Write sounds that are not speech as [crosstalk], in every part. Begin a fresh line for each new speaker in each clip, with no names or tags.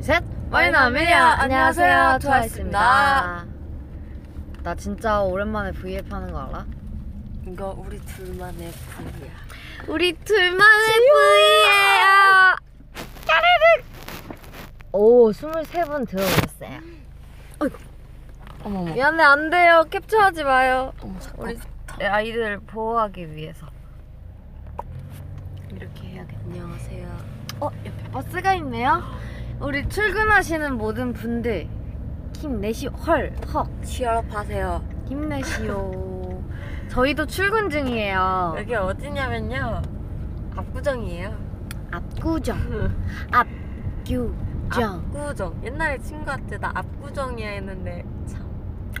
셋!
와인 아메리아! 안녕하세요, 트와이스입니다.
나 진짜 오랜만에 V앱 하는 거 알아?
이거 우리 둘만의 분이야.
우리 둘만의 V예요! 오, 23분 들어오셨어요.
어머 어머.
미안해, 안 돼요. 캡처하지 마요.
어머 잠깐.
우리 아이들 보호하기 위해서.
이렇게 해야겠다. 안녕하세요.
어, 옆에 버스가 있네요. 우리 출근하시는 모든 분들, 힘내시오. 헐, 헉,
취업 하세요.
힘내시오. 저희도 출근 중이에요.
여기 어디냐면요. 압구정이에요.
압구정 압구정
압구정. 옛날에 친구한테 나 압구정이야 했는데 참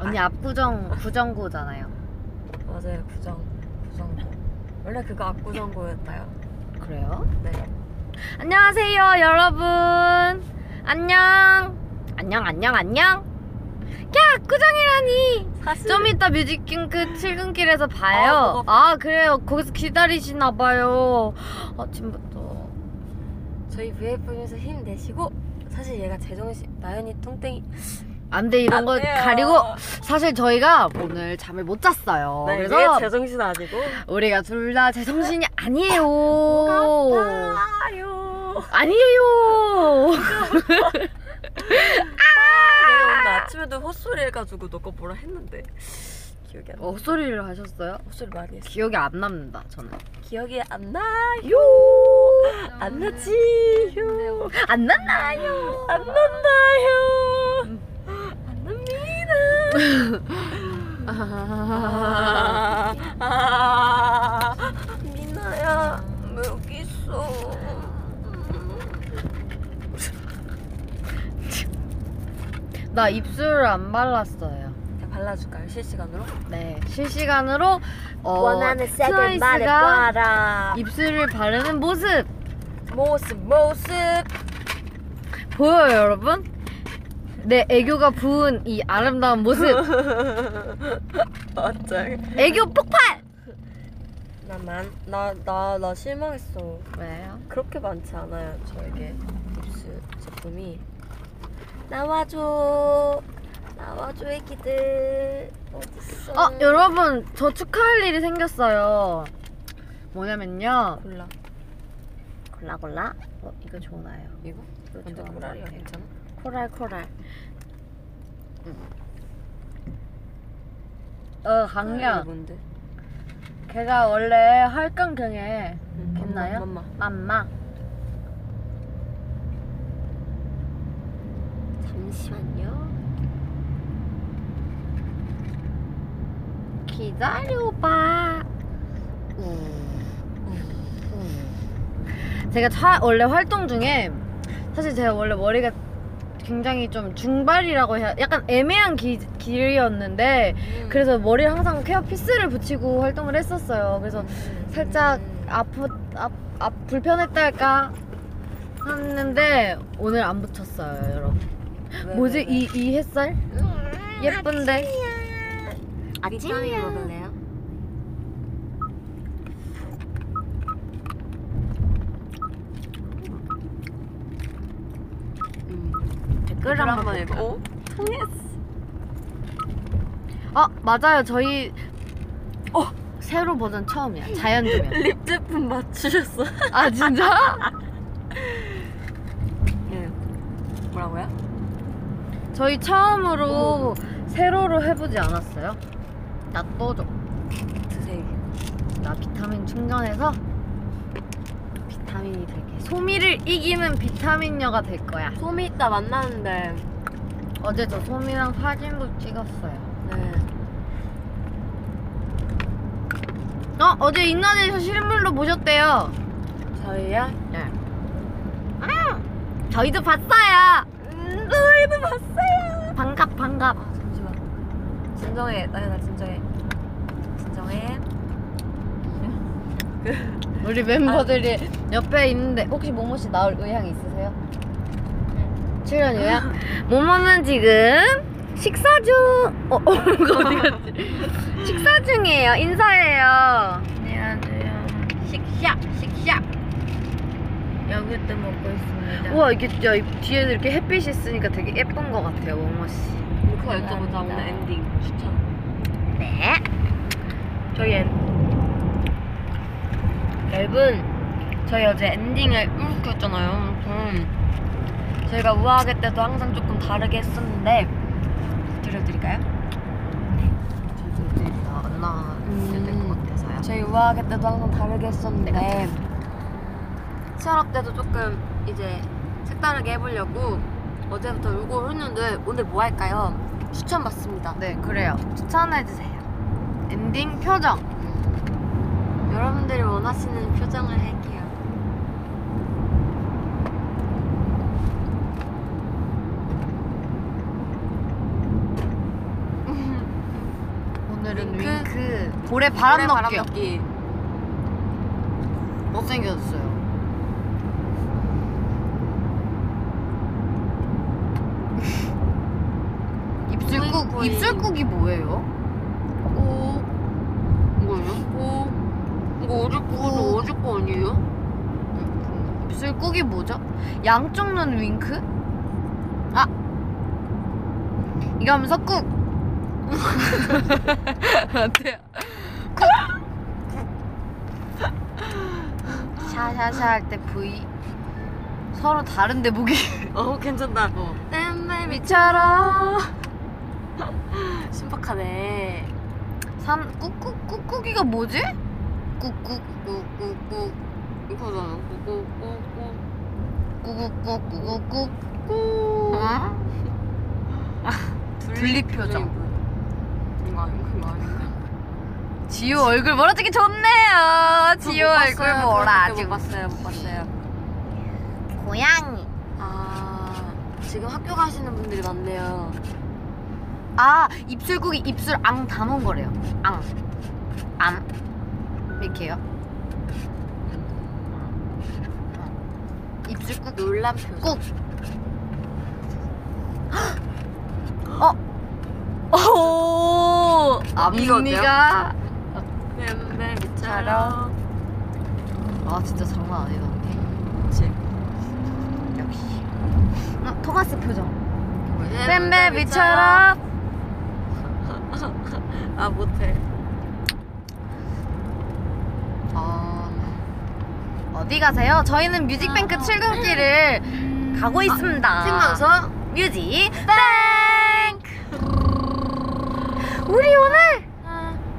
언니 압구정 구정구잖아요
맞아요. 구정 구정고. 원래 그거 압구정고였다요.
그래요?
네.
안녕하세요 여러분 안녕 안녕 안녕 안녕 야 압구정이라니
사실
좀 이따 뮤직뱅크 출근길에서 봐요
아,
아 그래요 거기서 기다리시나 봐요 아침부터
저희 VF 보면서 힘 내시고 사실 얘가 제정신 나연이 똥땡이
안돼 이런 거
안 돼요.
가리고 사실 저희가 오늘 잠을 못 잤어요
네,
그래서
얘 제정신 아니고
우리가 둘 다 제정신이 아니에요
어, 아요.
아니에요. [laughs]
내가 오늘 아침에도 헛소리 해가지고 너거 뭐라 했는데 기억이 안 나.
억소리를 하셨어요?
헛소리 많이 했어.
기억이 안 납니다. 저는.
기억이 안 나요. 안 나지요.
안 났나요? [laughs]
안 난다요. 안 납니다. 아, 아, 미나야 왜 여기 있어?
나 입술 안 발랐어요.
그냥 발라줄까요 실시간으로?
네. 실시간으로 어, 트와이스가
말해봐라.
입술을 바르는 모습
모습 모습.
보여요, 여러분? 내 애교가 부은 이 아름다운 모습. [laughs]
맞아요.
애교 폭발.
어, 나만 나나나 실망했어.
왜요?
그렇게 많지 않아요 저에게 입술 제품이. 나와줘 나와줘 애기들 어딨어?
어, 여러분, 저 축하할 일이 생겼어요. 뭐냐면요.
골라
골라 골라. 어, 이거 좋나요?
이거
이거
완전
좋은 것
코랄이야
같아요.
괜찮아?
코랄 코랄. 어
이거
강연.
뭔데?
걔가 원래 할강경에
맘마,
있나요?
맘마
맘마.
잠시만요
기다려봐. 음. 제가 차- 원래 활동 중에 사실 제가 원래 머리가 굉장히 좀 중발이라고 해야 약간 애매한 기, 길이었는데 그래서 머리에 항상 케어 피스를 붙이고 활동을 했었어요. 그래서 살짝 아프 아, 아 불편했달까 했는데 오늘 안 붙였어요, 여러분.
음. 네.
뭐지 이 이 햇살 예쁜데
아침이 먹을래요? 음, 댓글 한번 읽어. 어? 통했어.
아 맞아요, 저희
어.
새로 버전 처음이야 자연 조명.
립 제품 맞추셨어.
아 진짜?
[laughs] 예. 뭐라고요?
저희 처음으로 세로로 해보지 않았어요? 나 떠줘.
드세요.
나 비타민 충전해서 비타민이 될게. 소미를 이기는 비타민녀가 될 거야.
소미 이따 만나는데.
어제 저 소미랑 사진도 찍었어요.
네.
어 어제 인터넷에서 실물로 보셨대요.
저희야?
네. 음, 저희도 봤어요.
음, 저희도 봤어요.
반갑 반갑.
아, 잠시만. 진정해. 나연아 진정해. 진정해.
우리 멤버들이 옆에 있는데 혹시 모모 씨 나올 의향 있으세요? 출연 의향? [laughs] 모모는 지금 식사 중. 어, 어 이거 어디 갔지? [laughs] 식사 중이에요. 인사해요. 안녕하세요. 식사, 식사.
여기도 먹고 있습니다.
우와 이게 진짜 이 뒤에도 이렇게 햇빛이 있으니까 되게 예쁜 것 같아요 멍머 씨.
그거 여쭤보자 오늘 엔딩 추천.
네.
저희 엔... 여러분 저희 어제 엔딩을 울었잖아요. 음. 저희가 우아하게 때도 항상 조금 다르게 했었는데 들려드릴까요?
저도 이제 나안 나와야
음.
될것 같아서요.
저희 우아하게 때도 항상 다르게 했었는데 치아랍 때도 조금 이제 색다르게 해보려고 어제부터 울고 했는데 오늘 뭐 할까요? 추천 받습니다.
네 그래요. 추천해 주세요. 엔딩 표정.
여러분들이 원하시는 표정을 할게요.
오늘은
윙크.
윙크. 볼에 바람
올해
넣기요.
넣기.
못생겨졌어요. 입술국
보잉.
입술국이 뭐예요?
오. 뭐요? 오. 이거 어제 거는 어제 거 아니에요?
입술국이 뭐죠? 양쪽 눈 윙크? 아 이거 하면서 꾹. 어때요? 꾹. 샤샤샤 할 때 V. 서로 다른데 보기.
어 괜찮다.
어.
땜뱀이
미처럼.
네, 신박하네.
삼 꾹꾹 꾹꾹이가 뭐지? 꾹꾹
꾸꾸꾸 이거잖아. 꾸꾸꾸꾸.
꾹꾹 꾹꾹 꾹.
꾸.
어?
[laughs]
둘리 표정.
이거 아닌가? 이거 [laughs] 아닌가?
지효 얼굴 멀어지기 좋네요. 지효
못
얼굴
봤어요. 그거밖에
몰아주고.
못 봤어요. 못 봤어요.
고양이.
아 지금 학교 가시는 분들이 많네요.
아 입술국이 입술 앙 담은 거래요. 앙. 암. 이렇게요. 어. 입술국
놀란 표정.
꾹. 어. 오.
이거
앞니가.
뱀뱀이처럼.
아 진짜 장난 아니다 언니.
그치.
역시. 어, 토마스 표정.
뱀뱀이처럼. 아 못해.
어, 어디 가세요? 저희는 뮤직뱅크
아. 네.
출근길을 가고 있습니다.
생방송
뮤직뱅크. 우리 오늘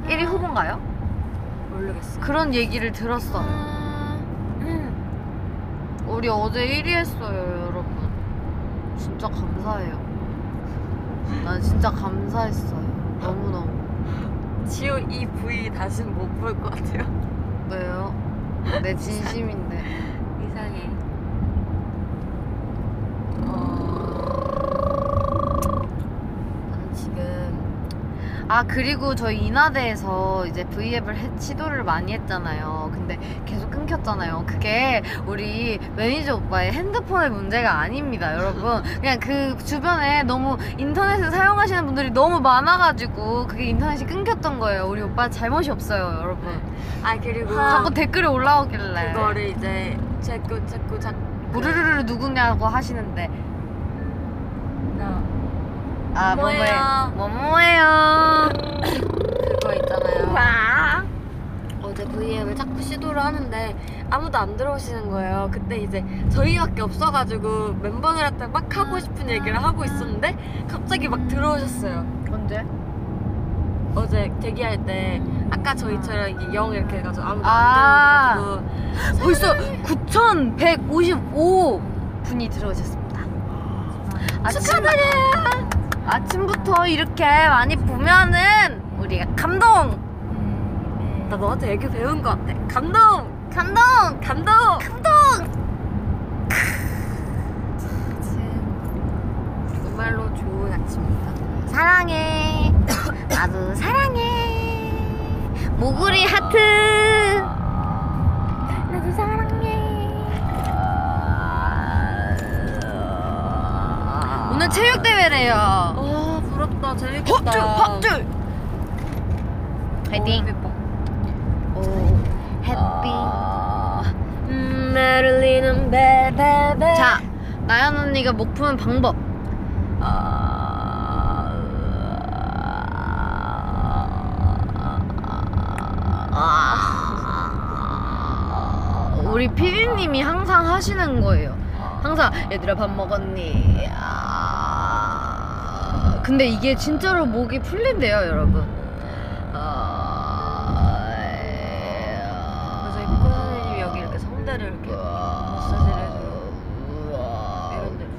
1위 후보인가요?
아, 모르겠어.
그런 얘기를 들었어.
음.
우리 어제 1위 했어요, 여러분. 진짜 감사해요. 난 진짜 감사했어요. 너무너무.
지호 이 부위 다시는 못 볼 것 같아요.
왜요? 내 진심인데.
[laughs] 이상해. 어, 나는 지금
아, 그리고 저희 인하대에서 이제 V앱을 해- 시도를 많이 했잖아요. 근데 계속 끊겼잖아요. 그게 우리 매니저 오빠의 핸드폰의 문제가 아닙니다,
[laughs]
여러분. 그냥 그 주변에 너무 인터넷을 사용하시는 분들이 너무 많아가지고 그게 인터넷이 끊겼던 거예요. 우리 오빠 잘못이 없어요, 여러분.
아 그리고
자꾸 댓글이 올라오길래.
그거를 이제 자꾸 자꾸 자꾸
무르르르 누구냐고 하시는데
나
아
뭐예요?
뭐뭐예요
그거 있잖아요.
와
어제 V앱을 자꾸 시도를 하는데 아무도 안 들어오시는 거예요. 그때 이제 저희밖에 없어가지고 멤버들한테 막 하고 싶은 얘기를 하고 있었는데 갑자기 막 들어오셨어요.
언제?
어제 대기할 때 아까 저희처럼 이게 영 이렇게 해가지고 아무도
아.
안 들어오셔가지고
벌써 9,155 분이 들어오셨습니다 축하드려요 아, 아침부터 이렇게 많이 보면은 우리가 감동 음,
나 너한테 애교 배운 것 같아. 감동!
감동
감동! 감동! 정말로 좋은 아침입니다.
사랑해 나도 사랑해 모구리 하트 나도 사랑해 오늘 체육대회래요
아 부럽다 재밌겠다.
헛줄 어, 헛줄 화이팅
오, 예뻐.
아. 오 해피 음
매를리는 베베베
자, 나연 언니가 목 푸는 방법. 우리 피디님이 항상 하시는 거예요. 항상 얘들아 밥 먹었니? 아. 근데 이게 진짜로 목이 풀린대요, 여러분. 아.
그래서 이코 선생님이 여기 이렇게 성대를 이렇게 마사지를 해줘요 이런 데로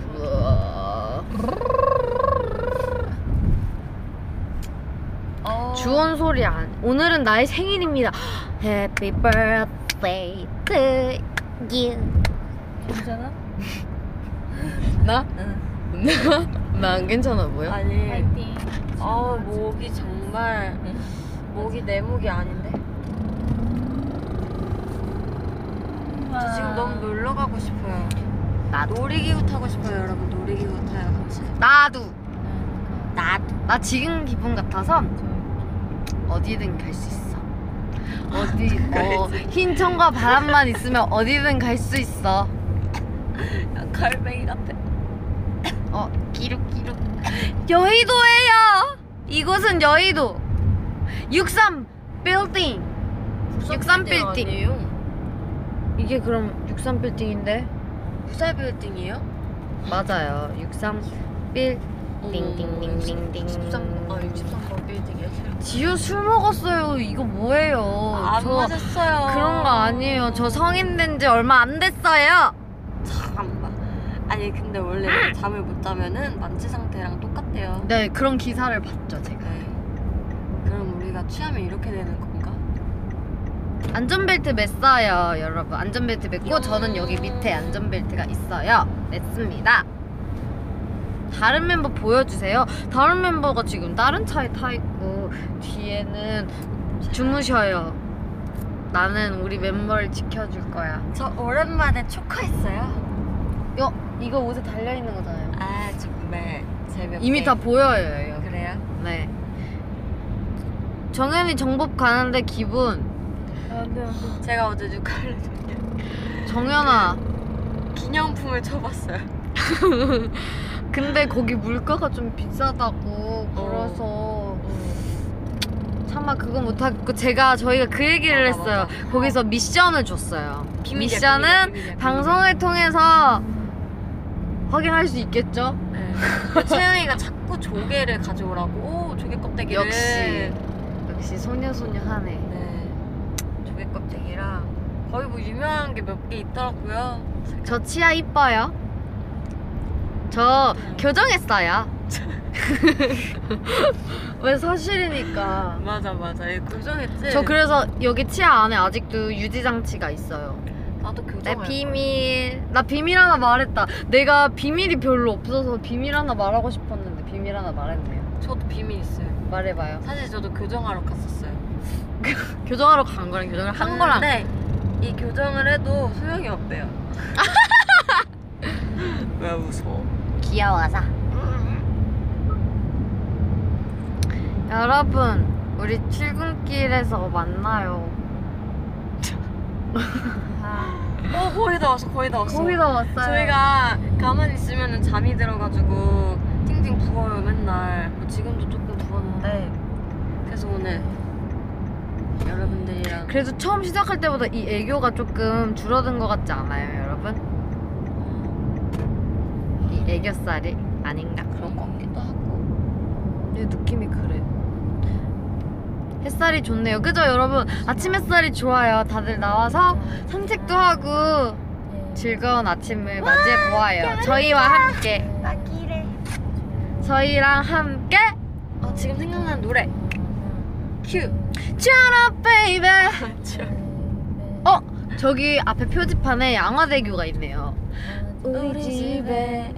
어.
주원 소리 안. 오늘은 나의 생일입니다. Happy birthday to you.
괜찮아?
나? [laughs]
응
나안 괜찮아 보여?
아니 어 목이 정말 목이 내 목이 아닌데 저 지금 너무 놀러 가고 싶어요
나도.
놀이기구 타고 싶어요 여러분 놀이기구 타요 같이
나도.
나도
나 지금 기분 같아서 어디든 갈 수 있어. 어디 어, 흰 천과 바람만 있으면 어디든 갈 수 있어.
갈뱅이 같아
어 기룩기룩. 여의도예요. 이곳은 여의도. 63 빌딩. 63 빌딩.
아니에요?
이게 그럼 63 빌딩인데?
부사 빌딩이에요?
맞아요. 63 빌. 띵띵띵띵띵.
63, 아 63번 빌딩이에요
지효 술 먹었어요. 이거 뭐예요?
아, 안
어, 저
맞았어요
그런 거 아니에요. 저 성인 된 지 얼마 안 됐어요.
참봐 아니 근데
[clears throat]
원래 이렇게 잠을 못 자면은 만취 상태랑 똑같대요
네, 그런 기사를 봤죠, 제가.
네. 그럼 우리가 취하면 이렇게 되는 건가?
안전벨트 맸어요, 여러분. 안전벨트 맸고
야.
저는 여기 밑에 안전벨트가 있어요. 맸습니다. 다른 멤버 보여주세요. 다른 멤버가 지금 다른 차에 타 있고 뒤에는 주무셔요. 나는 우리 멤버를 지켜줄 거야.
저 오랜만에 초커했어요
요 이거 옷에 달려 있는 거잖아요.
아 정말 재미없게 아,
이미 다 보여요. 여기.
그래요?
네. 정현이 정복 가는데 기분.
제가 어제 육아를 좀
정현아.
기념품을 쳐봤어요
근데 거기 물가가 좀 비싸다고 그래서 차마 그거 못하고 제가 저희가 그 얘기를
맞아,
했어요.
맞아.
거기서 미션을 줬어요.
비밀이야,
미션은
비밀이야, 비밀이야.
방송을 통해서 확인할 수 있겠죠?
네. 채영이가 자꾸 조개를 가져오라고 오 조개 껍데기를
역시. 역시 소녀소녀 하네.
네 조개 껍데기랑 거의 뭐 유명한 게 몇 개 있더라고요
저 치아 이뻐요. 저 교정했어요. [laughs] 왜 사실이니까.
맞아 맞아 얘 교정했지?
저 그래서 여기 치아 안에 아직도 유지 장치가 있어요.
나도 교정할
내
거야.
비밀. 나 비밀 하나 말했다. 내가 비밀이 별로 없어서 비밀 하나 말하고 싶었는데 비밀 하나 말했네요.
저도 비밀 있어요
말해봐요.
사실 저도 교정하러 갔었어요
교정하러 간 거랑 교정을 한 거랑
근데 이 교정을 해도 소용이 없대요 [laughs] 왜 웃어
귀여워서. 여러분, 우리 출근길에서 만나요. 아. [laughs]
어 거의 다 왔어 거의 다 왔어
거기다 왔어요.
저희가 가만히 있으면 잠이 들어가지고 팅팅 부어요 맨날 뭐 지금도 조금
네.
부었는데 그래서 오늘 여러분들이랑
그래도 처음 시작할 때보다 이 애교가 조금 줄어든 것 같지 않아요, 여러분? 이 애교살이 아닌가?
그런 것 같기도 하고
내 느낌이 그래. 햇살이 좋네요. 그죠, 여러분? 아침 햇살이 좋아요. 다들 나와서 산책도 하고
네.
즐거운 아침을 맞이해 보아요. 저희와 함께,
아기래
저희랑 함께.
어, 지금 생각나는 노래 큐
Shut up, baby.
자,
어, 저기 앞에 표지판에 양화대교가 있네요.
우리 집에 왜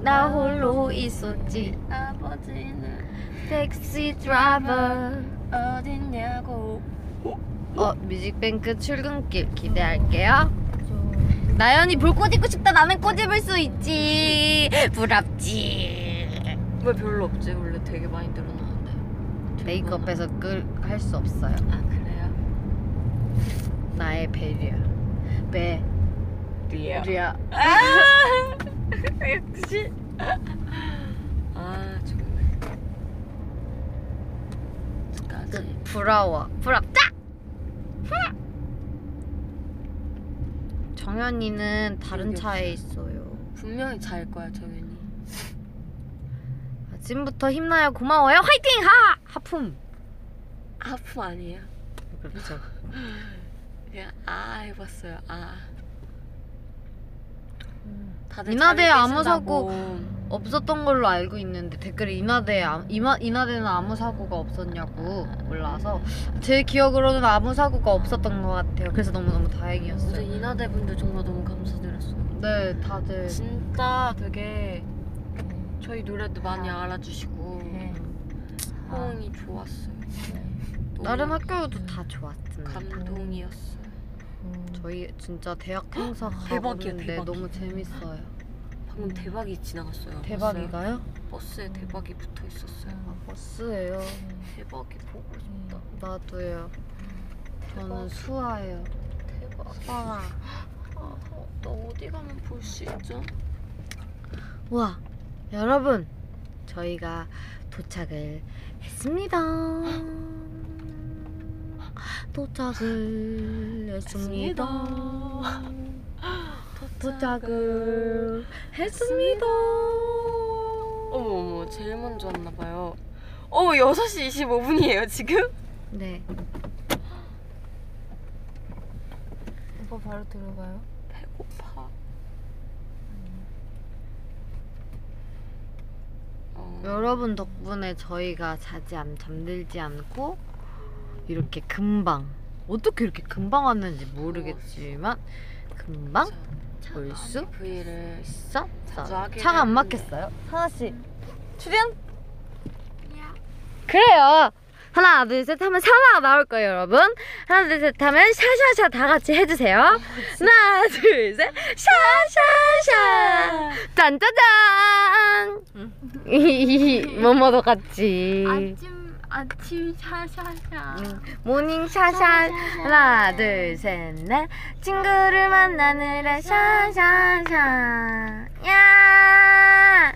나 홀로 있었지.
나 아버지는
택시 드라이버.
어딨냐고
어, 뮤직뱅크 출근길 기대할게요. 나연이 볼꽃 입고 싶다. 나는 꽃 입을 수 있지. 부럽지.
왜 별로 없지? 원래 되게 많이 늘어나는데
메이크업해서 끌할 수 없어요.
아 그래요?
나의 배려. 배
우리예요.
우리야.
역시. [laughs] 아 정말. 까지.
그 부러워. 부럽다. 부러- 정연이는 다른
여기
차에
없어요.
있어요.
분명히 잘 거야 정연이.
아침부터 힘나요. 고마워요. 화이팅! 하! 하품.
하품 아니에요?
그렇죠.
그냥 아 해봤어요. 아. 다들
인하대에
잘
아무
계신다고.
없었던 걸로 알고 있는데 댓글에 인하대에 암- 이마, 인하대는 아무 사고가 없었냐고 올라와서 제 기억으로는 아무 사고가 없었던 것 같아요. 그래서 너무너무
우리
다행이었어요.
인하대 분들 정말 너무 감사드렸어요.
네, 다들
진짜 되게 저희 노래도 많이 알아주시고 호응이 좋았어요. 네. 너무
아, 다른 학교도 다 좋았습니다.
감동이었어요.
저희 진짜 대학 행사
대박이야,
가는데
대박이.
너무 재밌어요.
방금 대박이 지나갔어요. 봤어요?
아, 대박이가요?
버스에 대박이 붙어 있었어요. 아,
아, 버스예요.
대박이 보고 싶다.
나도요. 저는
대박.
수아예요.
대박.
수아.
아, 어, 나 어디 가면 볼 수 있죠?
와, 여러분, 저희가 도착을 했습니다. 도착을 했습니다. 도착을 했습니다.
어머 어머 제일 먼저 왔나 봐요. 어머 6시 25분이에요 지금?
네.
오빠 바로 들어가요?
배고파. 어,
여러분 덕분에 저희가 자지 않 잠들지 않고 이렇게 금방 어떻게 이렇게 금방 왔는지 모르겠지만 금방
진짜
올 수
아? 브이를
있었어.
자주 하긴
차가 안
했는데.
막혔어요. 하나 씨 출연. 그래요. 하나 둘 셋 하면 사나 나올 거예요 여러분. 하나 둘 셋 하면 샤샤샤 다 같이 해주세요. 하나 둘 셋 샤샤샤.
아.
짠짜잔! [laughs] 뭐뭐도 같이.
아침 아침 샤샤샤
음, 모닝 샤샤. 하나, 둘, 셋, 넷. 친구를 만나느라 샤샤샤. 야!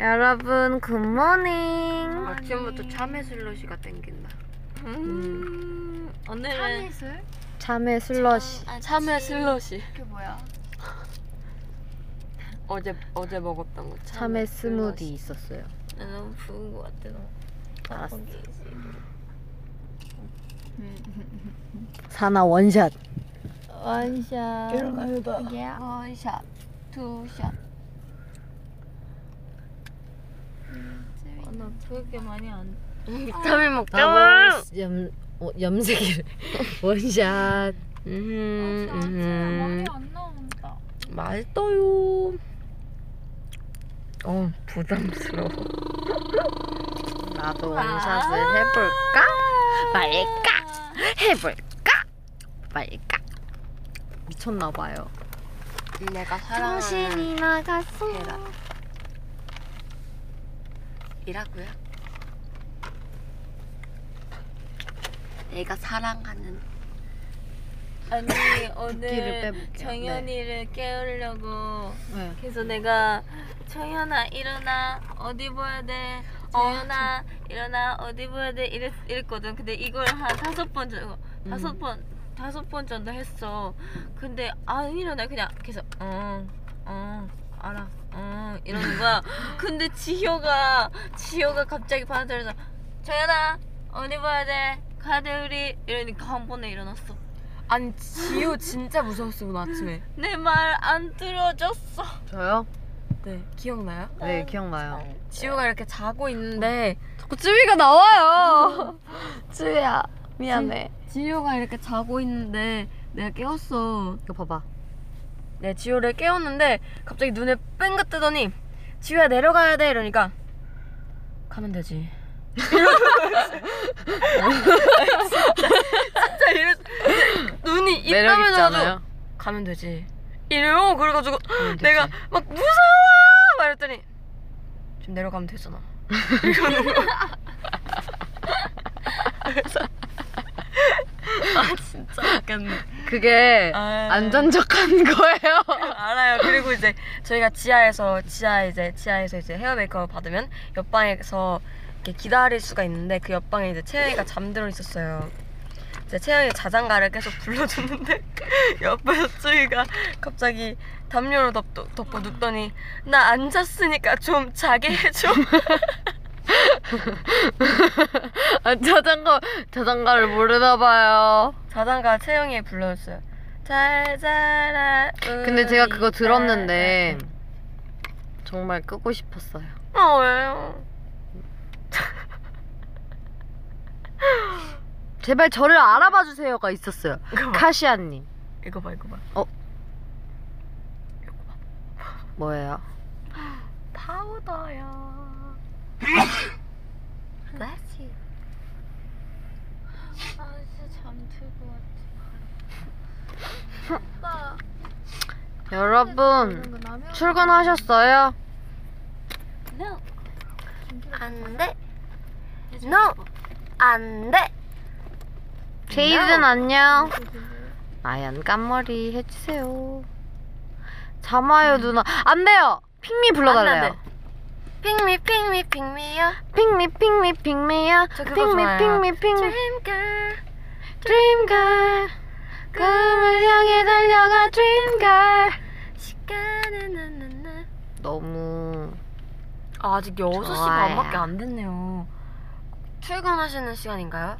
여러분, 굿모닝.
아침부터 참외 슬러시가 땡긴다.
음,
오늘은
참이슬?
참외 슬러시.
참- 아,
참외 슬러시.
그게 뭐야?
어제 어제 먹었던 거
참외 스무디 있었어요.
나 너무 부은 거 같아 너무.
알았어.
음.
사나 원샷.
원샷 일어나요 이게 원샷 투샷 음, 어, 나 그렇게 많이 안
비타민
아,
먹자.
염, 어, 염색이래. [laughs] 원샷.
음,
아침 아침에
음.
많이 안 나온다
맛있어요. 어 부담스러워.
나도 원샷을 해볼까? 말까? 해볼까? 말까? 미쳤나봐요.
내가 사랑하는
나갔어.
헤라. 이라고요? 내가 사랑하는 [laughs]
아니
네,
끼를
오늘
네, 빼볼게요.
정연이를 깨우려고
네.
그래서 내가 정연아 일어나 어디 보야 돼 정연아 일어나 어디 보야 돼 이랬, 이랬거든 근데 이걸 한 다섯 번 정도 다섯
음.
번 다섯 번 정도 했어 근데 안 일어나 그냥 계속 응응 알아 응
[laughs]
이러는 거야 근데 지효가 지효가 갑자기 반들어서 정연아 어디 보야 돼 가야 돼 우리 이러니까 한 번에 일어났어
아니 지효 진짜 무서웠어 오늘 아침에.
내 말 안 들어줬어
저요?
네 기억나요?
네,
어.
기억나요.
지효가 이렇게 자고 있는데
자꾸 쯔위가 나와요. 쯔위야,
미안해. [laughs] 지효가 이렇게 자고 있는데 내가 깨웠어.
이거 봐봐.
네, 지효를 깨웠는데 갑자기 눈을 뺑긋 뜨더니 지효야 내려가야 돼 이러니까
[laughs]
가면 되지. 진짜 이랬 눈이 입
매력
다물어가지고
있잖아요. 음,
가면 되지. 이래요. 그래가지고
가면 되지.
내가 막 무서워 말했더니 지금 내려가면 [laughs] 되잖아. 이러는 거야. [laughs] 그래서 아 진짜 약간
그게
아.
안전적한 [laughs] 거예요.
알아요. 그리고 이제 저희가 지하에서 지하 이제 지하에서 이제 헤어 메이크업 받으면 옆방에서 이렇게 기다릴 수가 있는데 그 옆방에 이제 채영이가 잠들어 있었어요. 이제 채영이 자장가를 계속 불러줬는데 [laughs] 옆에서 쭈이가 갑자기 담요로 덮, 덮어 눕더니 나 안 잤으니까 좀 자게
[laughs]
해줘.
아, 자전거 자전거를 모르나 봐요.
자장가 채영이 불러줬어요. 잘 자라.
근데 제가 그거
우리
들었는데
네,
정말 끄고 싶었어요.
자라. 어 왜요?
제발 저를 알아봐 주세요가 있었어요.
이거 봐
카시아님
이거 봐 이거 봐.
뭐예요?
그
파우더요. Bless you.
아 진짜 잠들 것 같아. 오빠.
여러분 출근하셨어요?
No.
안 돼. No. 안 돼.
제이든 안녕. 아얀 깐머리 해주세요. 잠아요 누나. 안 돼요. 핑미 불러달래요.
핑미 핑미 핑미요.
핑미 핑미 핑미야.
저 그거
핑미
좋아해요.
핑미 핑미.
Dreamgirl.
드림걸 꿈을 향해 달려가 드림걸
시간은 나나나.
너무
아, 아직 6시
좋아요.
반밖에 안 됐네요. 출근하시는 시간인가요?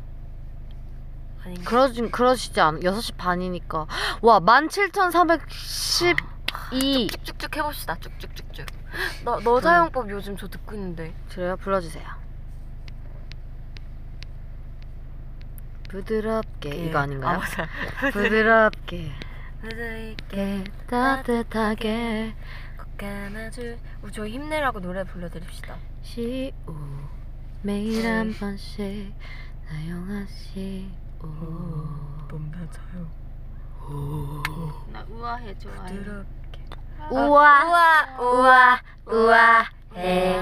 아닌가?
그러지 그러시지 않 6시 반이니까 와 17,312
쭉쭉 해봅시다. 쭉쭉쭉쭉. [gasps] 너 너자용법 요즘 저 듣고 있는데.
들어요 불러주세요 부드럽게 이거
아,
아닌가요?
맞아.
부드럽게
네, 부드럽게
따뜻하게
꼭 안아줄 우리 저 힘내라고 노래 불러드립시다
시오 매일 한 번씩 나영아 시오
몸다쳐요
나 우아해 좋아해.
부드럽게
우와
우와 우와
우와
네.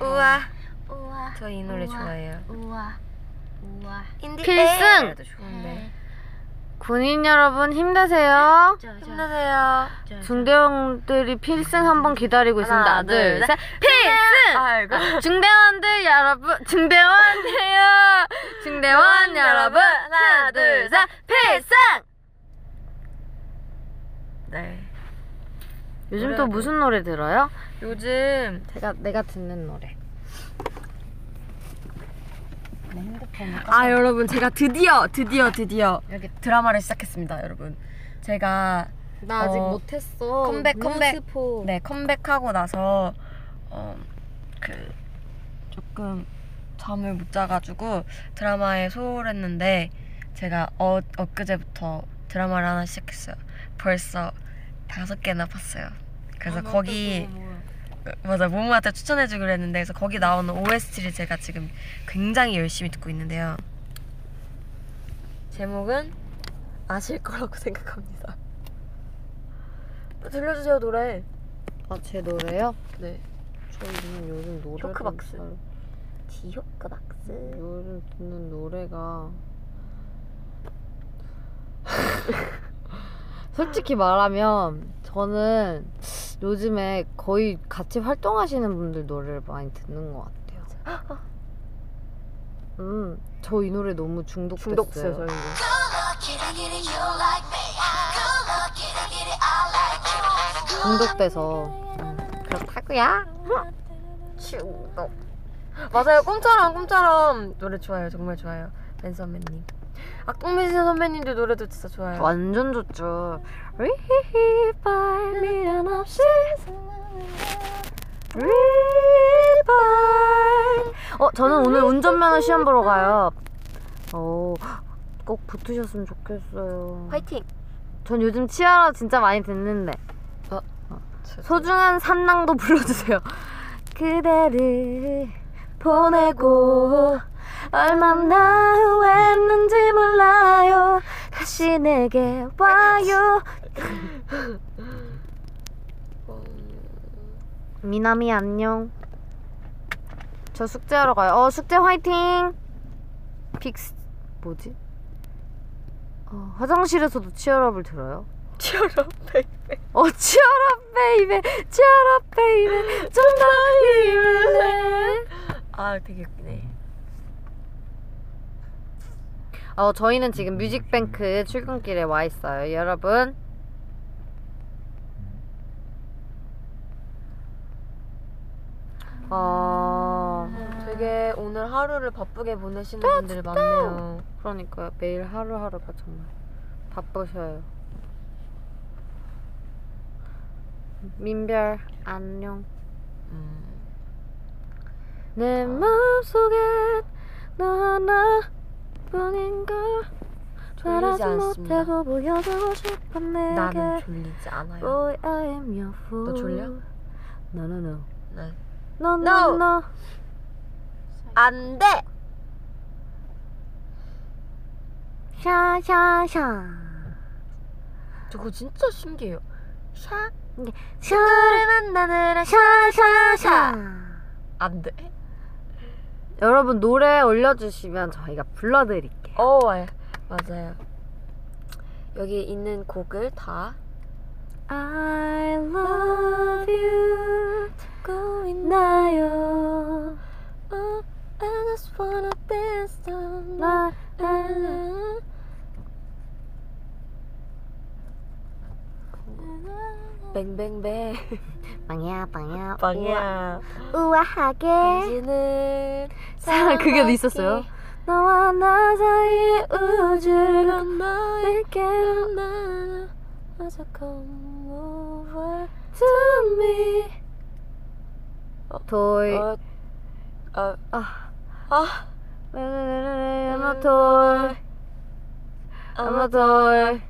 우와
우아
저 이 노래
우와.
좋아해요
우아 우아.
인디
필승! 네.
에어도
음. 네.
좋은데
군인 여러분 힘내세요
힘내세요
중대원들이 필승 한번 기다리고 있습니다
하나,
하나
둘,
둘셋 필승
아이고
중대원들 여러분 중대원이에요 중대원 음, 여러분 하나 둘셋 필승
네
요즘
노래가
또 무슨 노래 들어요?
요즘
제가 내가 듣는 노래 내 핸드폰을
아 여러분 제가 드디어 드디어 드디어
여기
드라마를 시작했습니다 여러분 제가
나
아직
못했어
컴백, 컴백.
뉴스포.
네 컴백하고 나서 어 그 조금 잠을 못 자가지고 드라마에 소홀했는데 제가 어 엊그제부터 드라마를 하나 시작했어요. 벌써 다섯 개나 봤어요.
아,
그래서 거기 맞아 모모한테 추천해주기로 했는데 그래서 거기 나오는 OST를 제가 지금 굉장히 열심히 듣고 있는데요. 제목은 아실 거라고 [laughs] 생각합니다. 들려주세요 노래.
아 제 노래요?
네.
저는 요즘 노래
쇼크박스. 디오크박스.
요즘 듣는 노래가 [laughs] 솔직히 말하면 저는 요즘에 거의 같이 활동하시는 분들 노래를 많이 듣는 것 같아요. 음, 저 이 노래 너무 중독됐어요.
중독됐어요 저희는.
중독돼서 음, 그렇다고요?
중독. 맞아요. 꿈처럼 꿈처럼 노래 좋아요. 정말 좋아요. 댄 선배님. 악동민 선배님들 노래도 진짜 좋아요.
완전 좋죠. 리히 발 미련 없이 리발. 어 저는 오늘 운전면허 시험 보러 가요. 어꼭 붙으셨으면 좋겠어요.
화이팅.
전 요즘 치아라 진짜 많이 듣는데 소중한 산낭도 불러주세요. 그대를 보내고 얼마나 후회했는지 몰라요. 다시 내게 와요. 미남이 안녕. 저 숙제하러 가요. 어 숙제 화이팅. 빅스 뭐지? 어, 화장실에서도 치얼업을 들어요?
치열한 백
어 치얼업 베이베 치얼업 베이베 [laughs] 좀더 힘내
아 되게 웃기네
어 저희는 지금 뮤직뱅크 출근길에 와 있어요 여러분 어
음,
되게 오늘 하루를 바쁘게 보내시는 분들이 많네요.
그러니까요 매일 하루하루가 정말 바쁘셔요 민별 안녕
음.
내
아.
마음속에 너 하나뿐인 걸
졸리지 않습니다.
보여주고 싶어 내게
나는 졸리지 않아요.
Boy, I am your fool.
너 졸려?
No, no, no.
네.
No,
No.
no, no.
안 돼.
샤샤샤.
저거 진짜 신기해요. 샤?
샤를 만나느라 샤샤샤.
안 돼.
여러분 노래 올려주시면 저희가 불러드릴게요.
어 예. 맞아요. 여기 있는 곡을 다
I love you. 듣고 있나요?
Oh, I just wanna dance the night.
나, 나, 나.
뱅뱅뱅
빵야, 빵야.
빵이야
우아, 우아하게.
당신은
사- 그게 어디 있었어요? 너와 나 사이의 우주를 건너 내게 나
맞아 come over
to me 토이
어어아
I'm a toy I'm a toy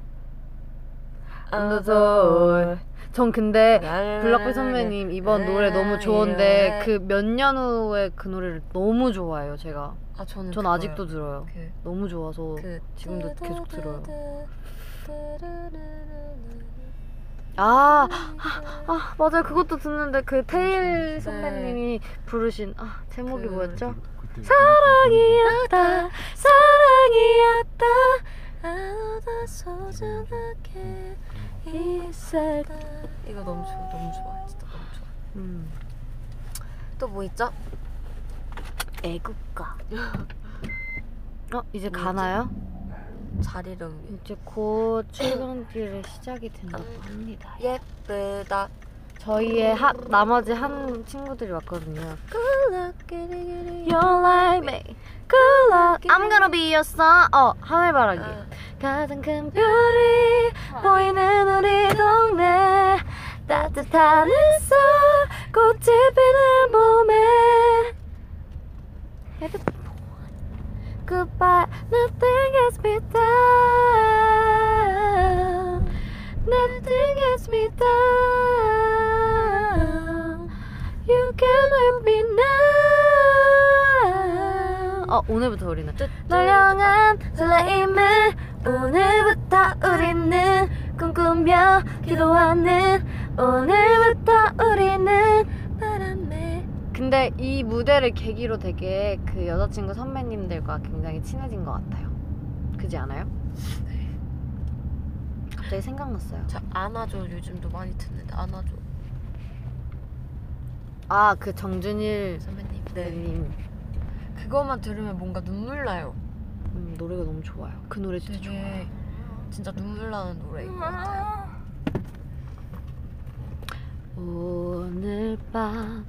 I'm a toy 전 근데 블락비 선배님 이번 노래 너무 좋은데 그 몇 년 후에 그 노래를 너무 좋아해요 제가
아 저는
전
그거요.
아직도 들어요
그,
너무 좋아서
그
지금도 계속 들어요 아 아 맞아요 그것도 듣는데 그 테일 선배님이 부르신 아 제목이
그-
뭐였죠?
사랑이야
사랑이었다 사랑이었다
아무도 소중하게
있을
이거 너무 좋아 너무 좋아 진짜 너무 좋아
음.
또 뭐 있죠?
[laughs] 애국가 어 이제 가나요?
잘 이름
이제 곧 출근길에 시작이 된다고 합니다
예쁘다
저희의 하, 나머지 한 친구들이 왔거든요
콜라끼리끼리
You're like me Good luck I'm gonna be your son 어 하늘바라기
아.
가장 큰 별이 보이는 우리 동네 따뜻한 햇살 꽃이 피는 봄에 Goodbye, nothing gets me down Nothing gets me down You can help me now 어, 오늘부터 우리는 널 향한 설레임을 오늘부터 우리는 꿈꾸며 기도하는 오늘부터 우리는 바람에 근데 이 무대를 계기로 되게 그 여자친구 선배님들과 굉장히 친해진 것 같아요 그지 않아요? 네. 갑자기 생각났어요
저 안아줘 요즘도 많이 듣는데 안아줘
아 그 정준일
네, 선배님 네.
선배님
그것만 들으면 뭔가 눈물 나요
음, 노래가 너무 좋아요 그 노래 진짜 좋아요
되게 진짜 눈물 나는
음,
노래인 것 같아요
오늘 밤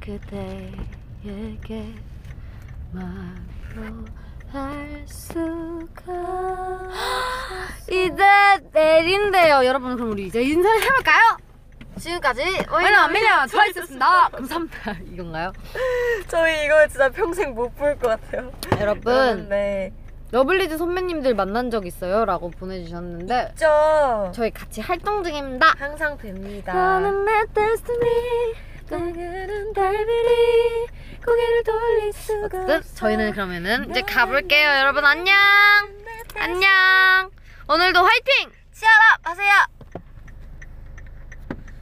그대에게 말로 할 수가 [gasps] 이제 내린대요 여러분 그럼 우리 이제 인사를 해볼까요?
지금까지
왜냐 안 밀려 트와이스였습니다 감사합니다 [laughs] 이건가요?
저희 이거 진짜 평생 못 볼 것 같아요
여러분
네
러블리즈 선배님들 만난 적 있어요? 라고 보내주셨는데
저
저희 같이 활동 중입니다
항상 뵙니다
나는 내 destiny 나는 달비리 고개를 돌릴 수가 없어 네. 저희는 그러면은 이제 네, 가볼게요 여러분 안녕 안녕 오늘도 화이팅!
치아라 하세요